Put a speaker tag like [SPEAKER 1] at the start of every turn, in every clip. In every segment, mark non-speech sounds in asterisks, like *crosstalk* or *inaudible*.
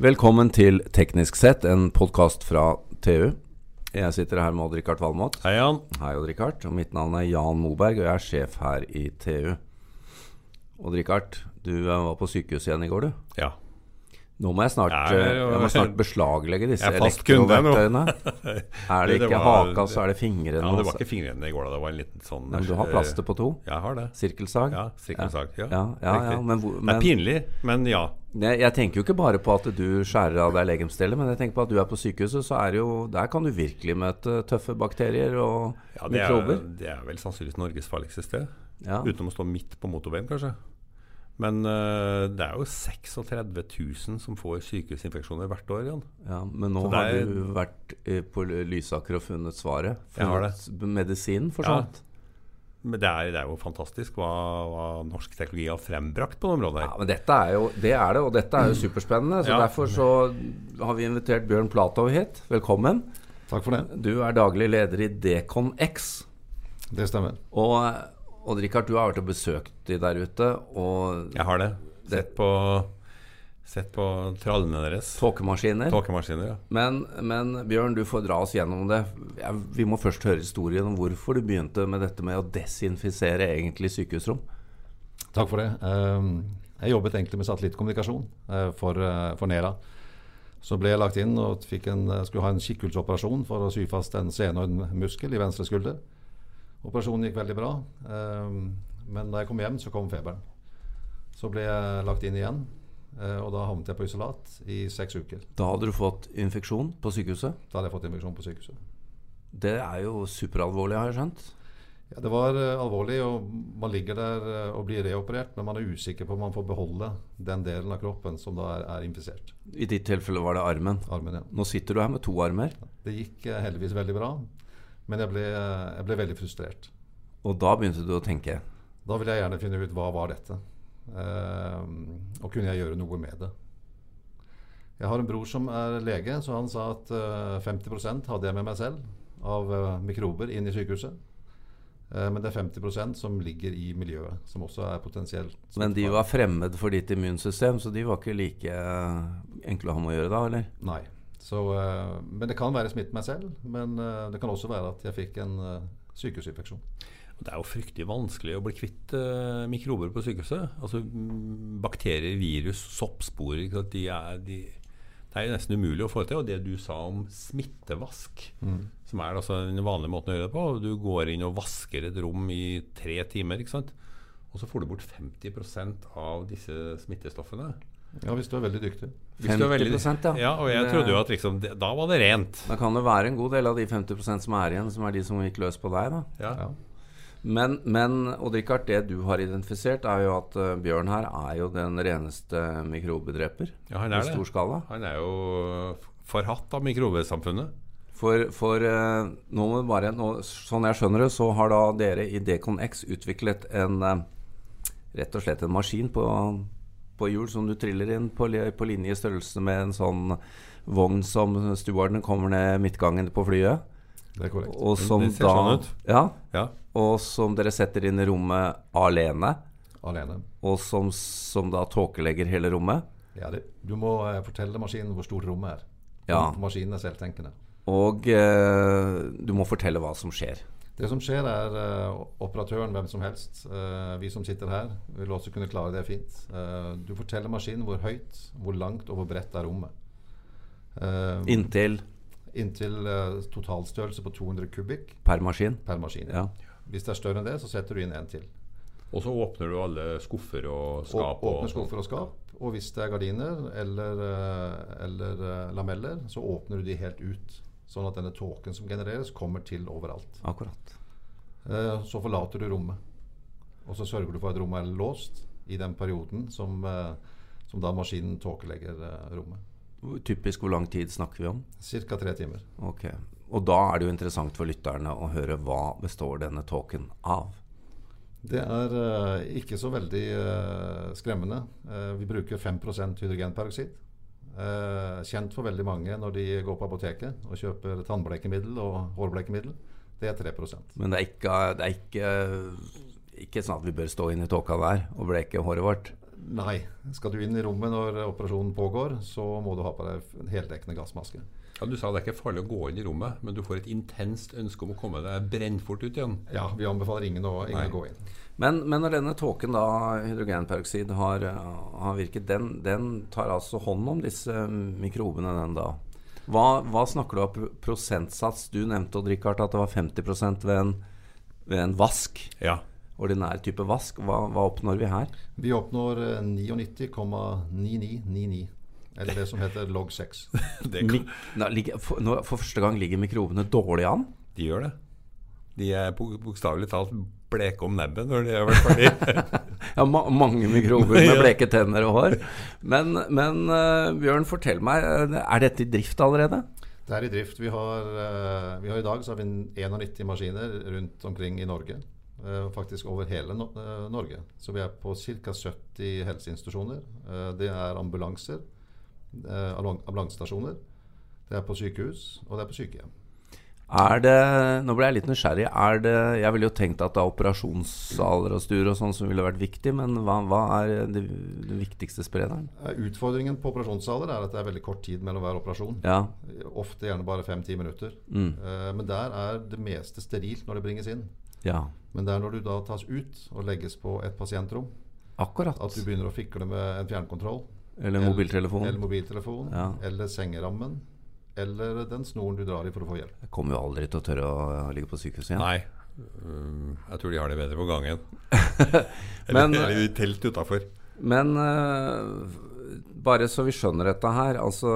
[SPEAKER 1] Velkommen til Teknisk sett, en podkast fra TU. Jeg sitter her med Odd-Rikard Valmot.
[SPEAKER 2] Hei, Jan.
[SPEAKER 1] Hei, Odd-Rikard. Og mitt navn er Jan Moberg, og jeg er sjef her i TU. Odd-Rikard, du eh, var på sykehuset igjen i går, du.
[SPEAKER 2] *laughs* Ja.
[SPEAKER 1] Nå må jeg snart,
[SPEAKER 2] Ja,
[SPEAKER 1] eh,
[SPEAKER 2] det er jo-
[SPEAKER 1] jeg må snart beslaglegge disse
[SPEAKER 2] *laughs* Jeg er fast kunde nå.
[SPEAKER 1] elektroverktøyene. Er det
[SPEAKER 2] *laughs* Det- det
[SPEAKER 1] ikke
[SPEAKER 2] var-
[SPEAKER 1] haka, så er det fingrene.
[SPEAKER 2] ja det var
[SPEAKER 1] altså.
[SPEAKER 2] ikke fingrene i går, da. Det var en liten sånn
[SPEAKER 1] Men du har plaster på to?
[SPEAKER 2] Jeg har det.
[SPEAKER 1] Sirkelsag?
[SPEAKER 2] Ja, sirkelsag. Ja,
[SPEAKER 1] Ja, ja, ja,
[SPEAKER 2] riktig.
[SPEAKER 1] men hvor-
[SPEAKER 2] Det
[SPEAKER 1] men-
[SPEAKER 2] er pinlig, men ja.
[SPEAKER 1] Jeg, jeg tenker jo ikke bare på at du skjærer av deg legemsdeler, men jeg tenker på at du er på sykehuset, så er det jo Der kan du virkelig møte tøffe bakterier og
[SPEAKER 2] ja det, er,
[SPEAKER 1] mikrober.
[SPEAKER 2] det er vel sannsynligvis Norges farligste sted.
[SPEAKER 1] Ja.
[SPEAKER 2] Utenom å stå midt på motorveien, kanskje. Men eh, det er jo 36 000 som får sykehusinfeksjoner hvert år, Jan.
[SPEAKER 1] Ja, men nå
[SPEAKER 2] Så det
[SPEAKER 1] har
[SPEAKER 2] er-
[SPEAKER 1] du vært eh, på Lysaker og funnet svaret.
[SPEAKER 2] Jeg har det.
[SPEAKER 1] Funnet Medisinen for
[SPEAKER 2] Ja.
[SPEAKER 1] sånt.
[SPEAKER 2] Men det er, det er jo fantastisk hva, hva norsk teknologi har frembrakt på det området.
[SPEAKER 1] Ja,
[SPEAKER 2] her.
[SPEAKER 1] men dette er jo Det er det, og dette er jo superspennende. Så
[SPEAKER 2] Ja.
[SPEAKER 1] derfor så har vi invitert Bjørn Platov hit. Velkommen.
[SPEAKER 3] Takk for det.
[SPEAKER 1] Du er daglig leder i DeconX.
[SPEAKER 3] Det stemmer.
[SPEAKER 1] Og Odd-Rikard, du har vært og besøkt de der ute, og
[SPEAKER 2] Jeg har det. Sett på, sett på trallene deres.
[SPEAKER 1] tåkemaskiner.
[SPEAKER 2] Tåkemaskiner, ja.
[SPEAKER 1] Men, men Bjørn, du får dra oss gjennom det. Jeg- Vi må først høre historien om hvorfor du begynte med dette med å desinfisere egentlig sykehusrom.
[SPEAKER 3] Takk for det. Ehm, Jeg jobbet egentlig med satellittkommunikasjon eh, for, eh, for Nera. Så ble jeg lagt inn og fikk en, eh, skulle ha en kikkhullsoperasjon for å sy fast en sene og en muskel i venstre skulder. Operasjonen gikk veldig bra, ehm, men da jeg kom hjem, så kom feberen. Så ble jeg lagt inn igjen, eh, og da havnet jeg på isolat i seks uker.
[SPEAKER 1] Da hadde du fått infeksjon på sykehuset.
[SPEAKER 3] Da hadde jeg fått infeksjon på sykehuset.
[SPEAKER 1] Det er jo superalvorlig, har jeg skjønt.
[SPEAKER 3] Ja, det var eh, alvorlig, og man ligger der eh, og blir reoperert, men man er usikker på om man får beholde den delen av kroppen som da er, er infisert.
[SPEAKER 1] I ditt tilfelle var det armen.
[SPEAKER 3] Armen igjen.
[SPEAKER 1] Nå sitter du her med to armer,
[SPEAKER 3] Det gikk eh, heldigvis veldig bra, men jeg ble, eh, jeg ble veldig frustrert.
[SPEAKER 1] og da begynte du å tenke.
[SPEAKER 3] Da ville jeg gjerne finne ut hva var dette, eh, og kunne jeg gjøre noe med det. Jeg har en bror som er lege, så han sa at eh, 50 hadde jeg med meg selv av eh, mikrober inn i sykehuset. Eh, men det er 50 som ligger i miljøet, som også er potensielt
[SPEAKER 1] Men de
[SPEAKER 3] smittbare.
[SPEAKER 1] var fremmed for ditt immunsystem, så de var ikke like eh, enkle å ha med å gjøre da, eller?
[SPEAKER 3] Nei. Så, eh, men det kan være smitte meg selv. Men eh, det kan også være at jeg fikk en eh, sykehusinfeksjon.
[SPEAKER 2] Det er jo fryktelig vanskelig å bli kvitt eh, mikrober på sykehuset. Altså mm, Bakterier, virus, soppsporer ikke sant? de er, de, Det er jo nesten umulig å få til. Og det du sa om smittevask, som er altså den vanlige måten å gjøre det på Du går inn og vasker et rom i tre timer, ikke sant? og så får du bort 50 av disse smittestoffene.
[SPEAKER 3] Ja, hvis du er veldig dyktig.
[SPEAKER 2] Hvis du er veldig-
[SPEAKER 1] 50% ja.
[SPEAKER 2] ja. Og jeg
[SPEAKER 1] Det-
[SPEAKER 2] trodde jo at liksom, det, da var det rent.
[SPEAKER 1] Da kan det være en god del av de 50 som er igjen, som er de som gikk løs på deg, da.
[SPEAKER 2] Ja.
[SPEAKER 3] Ja.
[SPEAKER 1] Men, men Odd-Rikard, det du har identifisert, er jo at eh, bjørn her er jo den reneste mikrobedreper
[SPEAKER 2] Ja, han
[SPEAKER 1] i
[SPEAKER 2] er
[SPEAKER 1] stor
[SPEAKER 2] det.
[SPEAKER 1] skala.
[SPEAKER 2] Han er jo forhatt av mikrobesamfunnet.
[SPEAKER 1] For, for eh, nå må vi bare nå, Sånn jeg skjønner det, så har da dere i DeconX utviklet en eh, Rett og slett en maskin på, på hjul som du triller inn på, li- på linje størrelse med en sånn vogn som stewardene kommer ned midtgangen på flyet.
[SPEAKER 3] Det er korrekt.
[SPEAKER 1] Og som
[SPEAKER 2] Det ser
[SPEAKER 1] da
[SPEAKER 2] sånn ut.
[SPEAKER 1] Ja,
[SPEAKER 2] Ja.
[SPEAKER 1] og som dere setter inn i rommet alene.
[SPEAKER 3] Alene.
[SPEAKER 1] og som, som da tåkelegger hele rommet.
[SPEAKER 3] Ja, det. Du må eh, fortelle maskinen hvor stort rommet er.
[SPEAKER 1] Ja.
[SPEAKER 3] Maskinen er selvtenkende.
[SPEAKER 1] Og eh, du må fortelle hva som skjer.
[SPEAKER 3] Det som skjer, er eh, operatøren, hvem som helst, eh, vi som sitter her, vil også kunne klare det fint. Eh, du forteller maskinen hvor høyt, hvor langt og hvor bredt er rommet. Eh,
[SPEAKER 1] Inntil
[SPEAKER 3] inntil eh, totalstørrelse på 200 kubikk
[SPEAKER 1] per maskin.
[SPEAKER 3] per maskin.
[SPEAKER 1] Ja.
[SPEAKER 3] Hvis det er større enn det, så setter du inn en til.
[SPEAKER 2] Og så åpner du alle skuffer og skap.
[SPEAKER 3] Å-
[SPEAKER 2] Og,
[SPEAKER 3] åpne skuffer og skap. Og hvis det er gardiner eller, eh, eller eh, lameller, så åpner du de helt ut. Sånn at denne tåken som genereres, kommer til overalt.
[SPEAKER 1] Akkurat.
[SPEAKER 3] Eh, Så forlater du rommet. Og så sørger du for at rommet er låst i den perioden som, eh, som da maskinen tåkelegger eh, rommet.
[SPEAKER 1] Typisk hvor lang tid snakker vi om?
[SPEAKER 3] Ca. tre timer.
[SPEAKER 1] Ok. Og da er det jo interessant for lytterne å høre hva består denne tåken av.
[SPEAKER 3] Det er eh, ikke så veldig eh, skremmende. Eh, vi bruker 5 hydrogenperoksid. Eh, kjent for veldig mange når de går på apoteket og kjøper tannblekemiddel og hårblekemiddel. Det er 3
[SPEAKER 1] Men det er ikke, det er ikke ikke sånn at vi bør stå inn i tåka der og bleke håret vårt.
[SPEAKER 3] Nei. Skal du inn i rommet når operasjonen pågår, så må du ha på deg en heldekkende gassmaske.
[SPEAKER 2] Ja, du sa det er ikke farlig å gå inn i rommet, men du får et intenst ønske om å komme deg brennfort ut igjen.
[SPEAKER 3] Ja, vi anbefaler ingen å ingen
[SPEAKER 2] Nei.
[SPEAKER 3] å gå inn.
[SPEAKER 1] Men, men når denne tåken, da, hydrogenperoksid, har, eh, har virket, den, den tar altså hånd om disse mikrobene, den da? Hva, hva snakker du om pro- prosentsats? Du nevnte Odd Rikard, at det var 50 ved en, ved en vask.
[SPEAKER 2] Ja.
[SPEAKER 1] Ordinær type vask. Hva, hva oppnår vi her?
[SPEAKER 3] Vi oppnår eh, 99,9999. Eller det som heter log 6.
[SPEAKER 2] Det kan,
[SPEAKER 1] Nå ligger, for, nå, for første gang ligger mikrobene dårlig an.
[SPEAKER 2] de gjør det. De er bok- bokstavelig talt bleke om nebbet når de har vært *laughs* ferdig.
[SPEAKER 1] Ja, ma mange
[SPEAKER 2] *laughs*
[SPEAKER 1] mikrober med bleke tenner og hår. Men, men eh, Bjørn, fortell meg, eh, er dette i drift allerede?
[SPEAKER 3] Det er i drift. Vi har, eh, vi har i dag så har vi en 91 maskiner rundt omkring i Norge. eh, Faktisk over hele no eh, Norge. Så vi er på ca. 70 helseinstitusjoner. Eh, Det er ambulanser, eh, ambulan- ambulansestasjoner, det er på sykehus, og det er på sykehjem.
[SPEAKER 1] Er det, nå ble jeg litt nysgjerrig. Er det, jeg ville jo tenkt at det er operasjonssaler og stuer og sånn som ville vært viktig, men hva, hva er det, den viktigste sprederen?
[SPEAKER 3] Eh, Utfordringen på operasjonssaler er at det er veldig kort tid mellom hver operasjon.
[SPEAKER 1] Ja,
[SPEAKER 3] Ofte gjerne bare fem-ti minutter. Eh, Men der er det meste sterilt når det bringes inn.
[SPEAKER 1] ja,
[SPEAKER 3] Men det er når du da tas ut og legges på et pasientrom,
[SPEAKER 1] akkurat.
[SPEAKER 3] at du begynner å fikle med en fjernkontroll.
[SPEAKER 1] Eller mobiltelefon.
[SPEAKER 3] Eller mobiltelefon.
[SPEAKER 1] Ja.
[SPEAKER 3] Eller sengerammen. Eller den snoren du drar i for å få hjelp.
[SPEAKER 1] Jeg kommer jo aldri til å tørre å eh, ligge på sykehuset *laughs* igjen.
[SPEAKER 2] Nei. Um, Jeg tror de har det bedre på gangen.
[SPEAKER 1] Men- eh,
[SPEAKER 2] Eller i telt utafor.
[SPEAKER 1] Men eh, bare så vi skjønner dette her, altså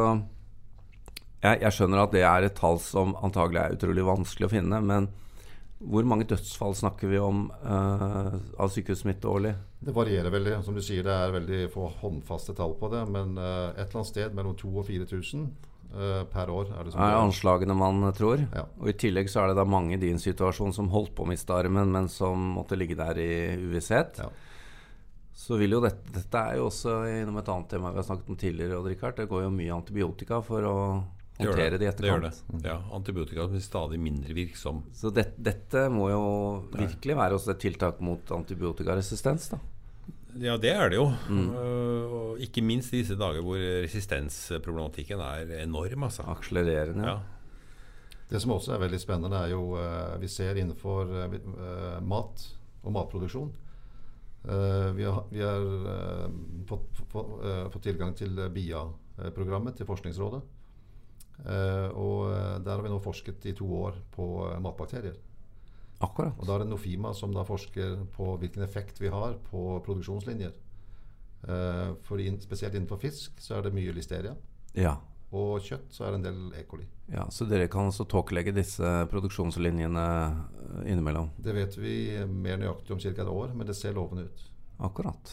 [SPEAKER 1] jeg, jeg skjønner at det er et tall som antagelig er utrolig vanskelig å finne, men hvor mange dødsfall snakker vi om eh, av sykehussmitte årlig?
[SPEAKER 3] Det varierer veldig. Som du sier, det er veldig få håndfaste tall på det. Men eh, et eller annet sted mellom 2000 og 4000 eh, per år er det som
[SPEAKER 1] er
[SPEAKER 3] går.
[SPEAKER 1] anslagene man tror.
[SPEAKER 3] Ja.
[SPEAKER 1] Og i tillegg så er det da mange i din situasjon som holdt på å miste armen, men som måtte ligge der i uvisshet.
[SPEAKER 3] Ja.
[SPEAKER 1] Så vil jo dette, dette er jo også innom et annet tema vi har snakket om tidligere, Odd Rikard. Det går jo mye antibiotika for å
[SPEAKER 2] Det gjør
[SPEAKER 1] håndtere det i
[SPEAKER 2] Det gjør det.
[SPEAKER 1] etterkant.
[SPEAKER 2] Ja, Antibiotika blir stadig mindre virksom.
[SPEAKER 1] Så det, dette må jo virkelig være også et tiltak mot antibiotikaresistens, da.
[SPEAKER 2] Ja, det er det jo. Uh, og ikke minst i disse dager hvor resistensproblematikken er enorm, altså.
[SPEAKER 1] Akselererende.
[SPEAKER 2] Ja.
[SPEAKER 3] Det som også er veldig spennende, er jo eh, vi ser innenfor eh, vi- eh, mat og matproduksjon. Eh, vi har, vi har eh, fått, fått, eh, fått tilgang til eh, BIA-programmet til Forskningsrådet. Eh, og eh, der har vi nå forsket i to år på eh, matbakterier.
[SPEAKER 1] Akkurat.
[SPEAKER 3] Og da er det Nofima som da forsker på hvilken effekt vi har på produksjonslinjer. Eh, for inn- spesielt innenfor fisk så er det mye listeria.
[SPEAKER 1] Ja.
[SPEAKER 3] Og kjøtt så er det en del E. coli.
[SPEAKER 1] ja. Så dere kan også tåkelegge disse produksjonslinjene eh, innimellom.
[SPEAKER 3] Det vet vi mer nøyaktig om ca. et år, men det ser lovende ut.
[SPEAKER 1] Akkurat.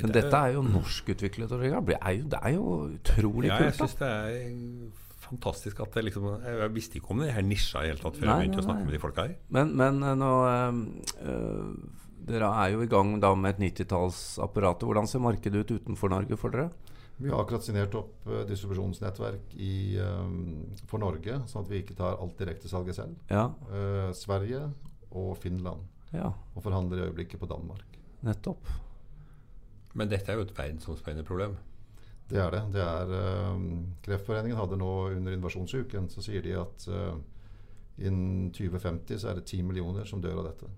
[SPEAKER 1] Men dette er jo norskutviklet. og Det er- det er jo, det er jo utrolig
[SPEAKER 2] ja, jeg
[SPEAKER 1] kult.
[SPEAKER 2] syns
[SPEAKER 1] da.
[SPEAKER 2] det er fantastisk at det liksom Jeg jeg visste ikke om det her nisja i hele tatt før
[SPEAKER 1] Nei,
[SPEAKER 2] jeg begynte
[SPEAKER 1] nei,
[SPEAKER 2] å snakke
[SPEAKER 1] nei.
[SPEAKER 2] med de folka her.
[SPEAKER 1] Men, men eh, nå eh, eh, Dere er jo i gang da med et 90-tallsapparat. Hvordan ser markedet ut utenfor Norge for dere?
[SPEAKER 3] Vi har akkurat signert opp eh, distribusjonsnettverk i, eh, for Norge, sånn at vi ikke tar alt direktesalget selv.
[SPEAKER 1] Ja,
[SPEAKER 3] Eh, Sverige og Finland.
[SPEAKER 1] ja
[SPEAKER 3] Og forhandler i øyeblikket på Danmark.
[SPEAKER 1] nettopp.
[SPEAKER 2] Men dette er jo et verdensomspennende problem.
[SPEAKER 3] Det er det. det er, eh, Kreftforeningen hadde nå under invasjonsuken, så sier de at eh, innen 2050 så er det 10 millioner som dør av dette.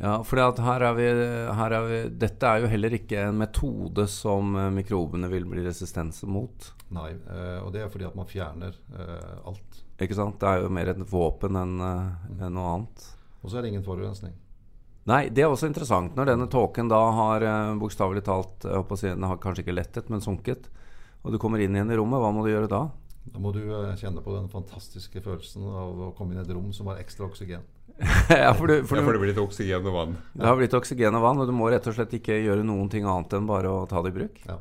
[SPEAKER 1] Ja, for her er vi, her er vi, dette er jo heller ikke en metode som eh, mikrobene vil bli resistense mot.
[SPEAKER 3] Nei, eh, og det er fordi at man fjerner eh, alt.
[SPEAKER 1] Ikke sant? Det er jo mer et våpen enn eh, enn noe annet.
[SPEAKER 3] Og så er det ingen forurensning.
[SPEAKER 1] Nei, det er også interessant. Når denne tåken da har eh, bokstavelig talt jeg håper å si, Den har kanskje ikke lettet, men sunket. Og du kommer inn igjen i rommet, hva må du gjøre da? *laughs*
[SPEAKER 3] Da må du eh, kjenne på den fantastiske følelsen av å komme inn i et rom som har ekstra oksygen.
[SPEAKER 1] ja, for du, for
[SPEAKER 2] Ja,
[SPEAKER 1] du,
[SPEAKER 2] for det blir litt oksygen og vann.
[SPEAKER 1] Det har blitt oksygen og vann, og du må rett og slett ikke gjøre noen ting annet enn bare å ta det i bruk.
[SPEAKER 3] Ja.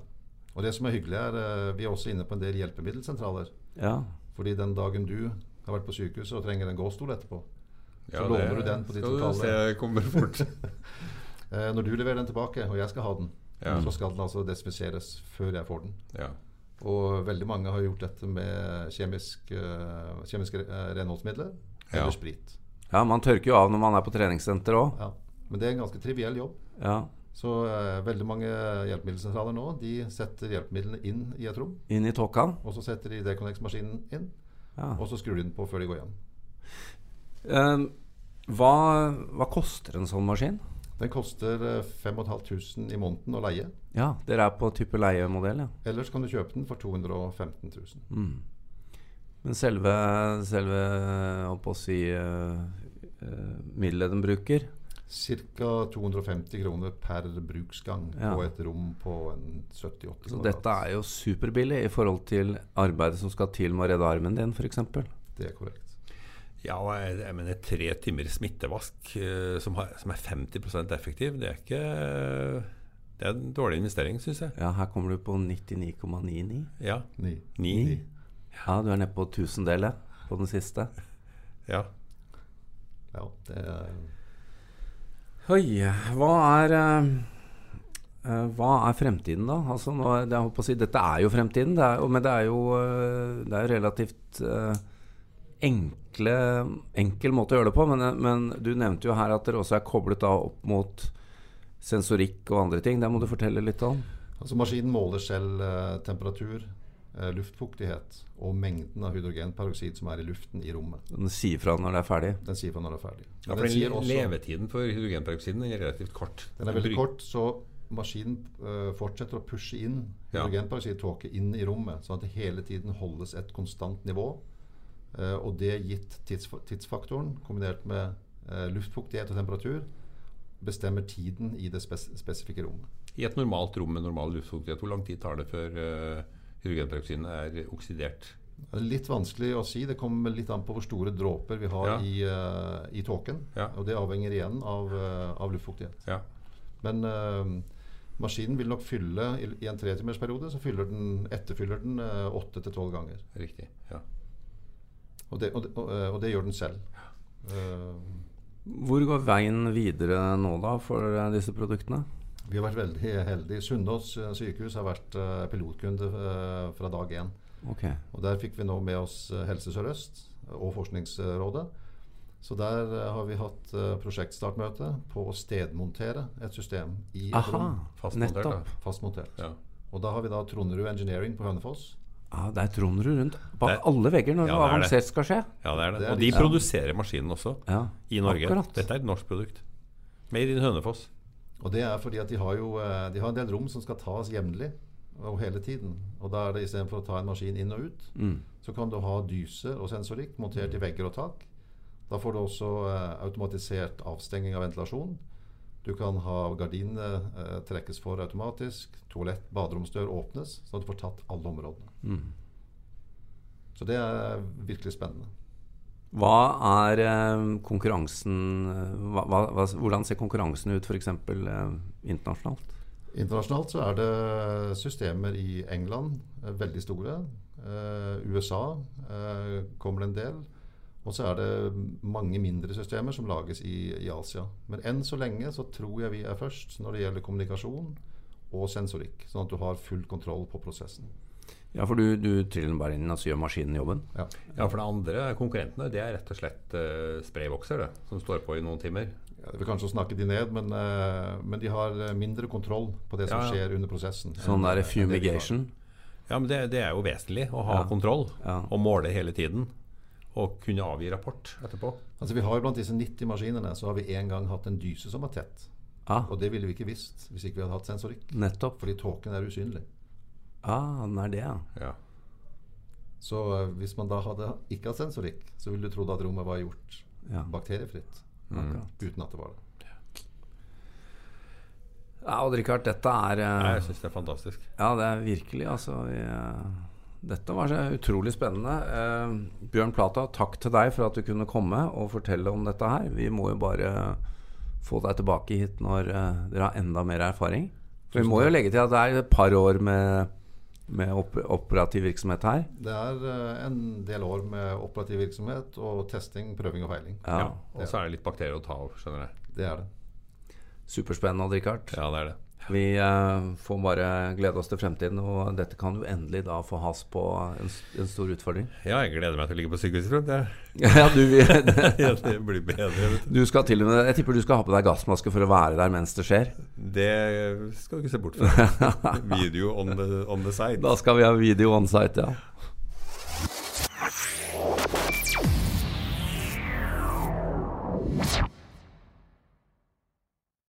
[SPEAKER 3] Og det som er hyggelig, er eh, vi er også inne på en del hjelpemiddelsentraler.
[SPEAKER 1] Ja,
[SPEAKER 3] Fordi den dagen du har vært på sykehuset og trenger en gåstol etterpå
[SPEAKER 2] Ja,
[SPEAKER 3] Så låner du den på ditt
[SPEAKER 2] Skal
[SPEAKER 3] lokale.
[SPEAKER 2] du se, det kommer fort.
[SPEAKER 3] eh, Når du leverer den tilbake, og jeg skal ha den,
[SPEAKER 2] Ja.
[SPEAKER 3] så skal den altså desinfiseres før jeg får den.
[SPEAKER 2] Ja.
[SPEAKER 3] Og veldig mange har gjort dette med kjemisk, eh, kjemiske eh, renholdsmidler
[SPEAKER 2] Ja.
[SPEAKER 3] eller sprit.
[SPEAKER 1] ja man tørker jo av når man er på treningssenter òg.
[SPEAKER 3] Ja. Men det er en ganske triviell jobb.
[SPEAKER 1] Ja.
[SPEAKER 3] Så eh, veldig mange hjelpemiddelsentraler nå de setter hjelpemidlene inn i et rom.
[SPEAKER 1] Inn i tåka.
[SPEAKER 3] Og så setter de Deconnex-maskinen inn,
[SPEAKER 1] Ja.
[SPEAKER 3] og så skrur de den på før de går hjem.
[SPEAKER 1] Eh, hva, hva koster en sånn maskin?
[SPEAKER 3] Den koster eh, 5500 i måneden å leie.
[SPEAKER 1] Ja, dere er på type leiemodell, ja. Mm.
[SPEAKER 3] Ellers kan du kjøpe den for 215 000.
[SPEAKER 1] Men selve, selve holdt på å si, eh, eh, middelet den bruker
[SPEAKER 3] Ca. 250 kroner per bruksgang
[SPEAKER 1] Ja.
[SPEAKER 3] på et rom på en 70-80
[SPEAKER 1] Så dette er jo superbillig i forhold til arbeidet som skal til med å redde armen din, f.eks.
[SPEAKER 3] Det er korrekt.
[SPEAKER 2] Ja, og jeg, jeg mener tre timer smittevask eh, som, har, som er 50 effektiv, det er ikke Det er en dårlig investering, syns jeg.
[SPEAKER 1] Ja, her kommer du på 99,99.
[SPEAKER 2] Ja.
[SPEAKER 3] Ni.
[SPEAKER 2] Ni.
[SPEAKER 1] Ja, du er nede på tusendelet på den siste.
[SPEAKER 2] Ja.
[SPEAKER 3] Ja, det er,
[SPEAKER 1] Oi, hva er eh, eh, hva er fremtiden, da? Altså, nå, er- jeg holdt på å si, dette er jo fremtiden, det er, jo- men det er jo, eh, det er jo relativt eh, enkle, enkel måte å gjøre det på. Men, eh, men du nevnte jo her at dere også er koblet da opp mot sensorikk og andre ting. Det må du fortelle litt om.
[SPEAKER 3] altså maskinen måler selv eh, temperatur, eh, luftfuktighet og mengden av hydrogenperoksid som er i luften i rommet.
[SPEAKER 1] Den sier fra når det er ferdig.
[SPEAKER 3] Den sier fra når den er ferdig.
[SPEAKER 2] ja
[SPEAKER 3] Men
[SPEAKER 2] for
[SPEAKER 3] den sier
[SPEAKER 2] den
[SPEAKER 3] også-
[SPEAKER 2] levetiden for hydrogenperoksiden er relativt kort.
[SPEAKER 3] Den er veldig
[SPEAKER 2] bruk-
[SPEAKER 3] kort, så maskinen eh, fortsetter å pushe inn
[SPEAKER 2] Ja.
[SPEAKER 3] hydrogenperoksidtåke inn i rommet, sånn at det hele tiden holdes et konstant nivå. Eh, og det gitt tids, tidsfaktoren, kombinert med eh, luftfuktighet og temperatur, bestemmer tiden i det spes spesifikke rommet.
[SPEAKER 2] I et normalt rom med normal luftfuktighet, hvor lang tid tar det før uh, hydrogenperoksiden er oksidert?
[SPEAKER 3] Det er litt vanskelig å si. Det kommer litt an på hvor store dråper vi har
[SPEAKER 2] Ja.
[SPEAKER 3] i, eh, i tåken.
[SPEAKER 2] Ja.
[SPEAKER 3] Og det avhenger igjen av, eh, av luftfuktighet.
[SPEAKER 2] Ja.
[SPEAKER 3] Men eh, maskinen vil nok fylle i, i en tretimersperiode, så fyller den, etterfyller den eh, åtte til tolv ganger.
[SPEAKER 2] Riktig. Ja.
[SPEAKER 3] Og det, og, det- og, eh, og det gjør den selv. Eh,
[SPEAKER 1] Hvor går veien videre nå, da, for eh, disse produktene?
[SPEAKER 3] vi har vært veldig heldige. Sunnaas eh, sykehus har vært eh, pilotkunde eh, fra dag én.
[SPEAKER 1] Ok.
[SPEAKER 3] Og der fikk vi nå med oss eh, Helse Sør-Øst og Forskningsrådet. Så der eh, har vi hatt eh, prosjektstartmøte på å stedmontere et system i et
[SPEAKER 1] Aha,
[SPEAKER 3] rom.
[SPEAKER 2] Fastmontert, da.
[SPEAKER 1] nettopp.
[SPEAKER 3] Fastmontert.
[SPEAKER 2] Ja.
[SPEAKER 3] Og da har vi da Tronderud Engineering på Hønefoss.
[SPEAKER 1] Ja, der trommer du rundt bak
[SPEAKER 2] Det-
[SPEAKER 1] alle vegger når noe
[SPEAKER 2] Ja, det er det.
[SPEAKER 1] avansert skal skje.
[SPEAKER 2] ja, det er liksom- det.
[SPEAKER 3] Det er
[SPEAKER 2] Og de
[SPEAKER 3] litt-
[SPEAKER 2] produserer maskinen også.
[SPEAKER 1] Ja,
[SPEAKER 2] I Norge.
[SPEAKER 1] Akkurat.
[SPEAKER 2] Dette er et norsk produkt. Made in Hønefoss.
[SPEAKER 3] Og det er fordi at de har jo eh, De har en del rom som skal tas jevnlig og hele tiden. Og da er det istedenfor å ta en maskin inn og ut, så kan du ha dyse og sensorikk montert i vegger og tak. Da får du også eh, automatisert avstenging av ventilasjon. Du kan ha gardinene eh, trekkes for automatisk. Toalett, baderomsdør åpnes, sånn at du får tatt alle områdene. Så det er virkelig spennende.
[SPEAKER 1] Hva er eh, konkurransen eh, hva, hva, hva- Hvordan ser konkurransen ut f.eks. Eh, internasjonalt?
[SPEAKER 3] Internasjonalt så er det systemer i England, eh, veldig store. Eh, USA eh, kommer det en del. Og så er det mange mindre systemer som lages i, i Asia. Men enn så lenge så tror jeg vi er først når det gjelder kommunikasjon og sensorikk. Sånn at du har full kontroll på prosessen.
[SPEAKER 1] Ja, for du, du triller den bare inn, og så gjør maskinen jobben.
[SPEAKER 3] Ja.
[SPEAKER 2] Ja, for det andre, konkurrentene, det er rett og slett eh, spraybokser, det. Som står på i noen timer.
[SPEAKER 3] Ja, det vil kanskje å snakke de ned, men, eh, men de har eh, mindre kontroll på det
[SPEAKER 2] Ja,
[SPEAKER 3] som
[SPEAKER 2] ja.
[SPEAKER 3] skjer under prosessen.
[SPEAKER 1] Sånn
[SPEAKER 3] enn-
[SPEAKER 1] der
[SPEAKER 3] enn det vi har.
[SPEAKER 1] fumigation.
[SPEAKER 2] Ja, men det, det er jo vesentlig å ha
[SPEAKER 1] Ja.
[SPEAKER 2] kontroll.
[SPEAKER 1] Ja.
[SPEAKER 2] Og måle hele tiden. Og kunne avgi rapport etterpå.
[SPEAKER 3] Altså vi har jo Blant disse 90 maskinene så har vi en gang hatt en dyse som var tett.
[SPEAKER 1] Ja,
[SPEAKER 3] Og det ville vi ikke visst hvis ikke vi hadde hatt sensorikk.
[SPEAKER 1] nettopp.
[SPEAKER 3] Fordi tåken er usynlig.
[SPEAKER 1] Ah, den er det, ja.
[SPEAKER 2] Ja.
[SPEAKER 3] Så eh, hvis man da hadde ikke hatt sensorikk, så ville du trodd at rommet var gjort
[SPEAKER 1] Ja.
[SPEAKER 3] bakteriefritt. Mm.
[SPEAKER 1] Akkurat.
[SPEAKER 3] Uten at det var det.
[SPEAKER 1] Ja, Odd Rikard, dette er
[SPEAKER 2] Nei,
[SPEAKER 1] eh,
[SPEAKER 2] Jeg syns det er fantastisk.
[SPEAKER 1] Ja, det er virkelig, altså. Vi, eh, dette var så utrolig spennende. Eh, Bjørn Plata, takk til deg for at du kunne komme og fortelle om dette her. Vi må jo bare få deg tilbake hit når eh, dere har enda mer erfaring. For vi må jo legge til at det er et par år med, med op operativ virksomhet her.
[SPEAKER 3] Det er eh, en del år med operativ virksomhet og testing, prøving og feiling.
[SPEAKER 1] Ja,
[SPEAKER 2] Ja. Og så er det litt bakterier å ta av, skjønner jeg.
[SPEAKER 3] Det er det.
[SPEAKER 1] Superspennende, Odd Rikard.
[SPEAKER 2] Ja, det er det.
[SPEAKER 1] Vi eh, får bare glede oss til fremtiden, og dette kan jo endelig da få has på en, s- en stor utfordring. *laughs*
[SPEAKER 2] Ja, jeg gleder meg til å ligge på sykehuset. tror jeg.
[SPEAKER 1] ja, du, vi,
[SPEAKER 2] Det, det blir bedre. Vet du.
[SPEAKER 1] Du skal til og med, jeg tipper du skal ha på deg gassmaske for å være der mens det skjer.
[SPEAKER 2] Det skal du ikke se bort fra. Video on the, on the side.
[SPEAKER 1] Da skal vi ha video on site, ja.